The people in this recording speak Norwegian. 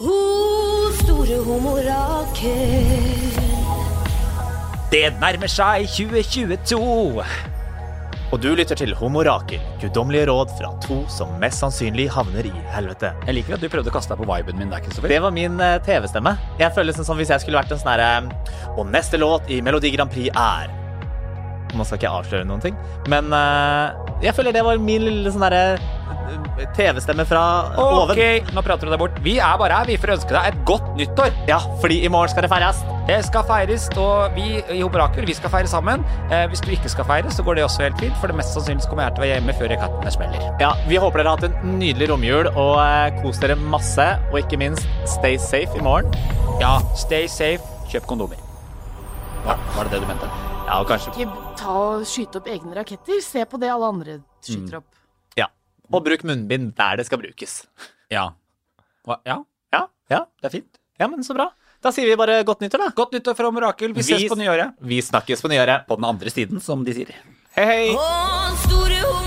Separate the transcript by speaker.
Speaker 1: O store homorakel.
Speaker 2: Det nærmer seg 2022.
Speaker 3: Og du lytter til Homorakel, guddommelige råd fra to som mest sannsynlig havner i helvete.
Speaker 2: Jeg liker at du prøvde å kaste deg på viben min der, Kristoffer.
Speaker 3: Det var min eh, TV-stemme. Jeg føler det som hvis jeg skulle vært en sånn herre Og neste låt i Melodi Grand Prix er Man skal ikke avsløre noen ting, men eh, jeg føler det var min lille sånn herre eh, TV-stemme fra
Speaker 2: Ok,
Speaker 3: oven.
Speaker 2: nå prater du deg bort. Vi er bare her, vi, for å ønske deg et godt nyttår.
Speaker 3: Ja, fordi i morgen skal det feires.
Speaker 2: Det skal feires, og vi i Hobaraker vi skal feire sammen. Eh, hvis du ikke skal feire, så går det også helt fint, for det mest sannsynlig så kommer jeg til å være hjemme før kattene smeller.
Speaker 3: Ja, Vi håper dere har hatt en nydelig romjul, og eh, kos dere masse. Og ikke minst, stay safe i morgen.
Speaker 2: Ja, stay safe, kjøp kondomer. Var, var det det du mente?
Speaker 3: Ja, og kanskje
Speaker 4: Ikke ta og skyte opp egne raketter. Se på det alle andre skyter opp.
Speaker 3: Ja. Og bruk munnbind der det skal brukes.
Speaker 2: Ja. Hva- Ja,
Speaker 3: Ja, ja.
Speaker 2: det er fint.
Speaker 3: ja men så bra. Da sier vi bare godt nyttår, da.
Speaker 2: Godt nyttår fra Omerakel. Vi ses
Speaker 3: Vi-
Speaker 2: på nyåret.
Speaker 3: Vi snakkes på nyåret.
Speaker 2: På den andre siden, som de sier.
Speaker 3: Hei, hei!
Speaker 1: O store homorakel.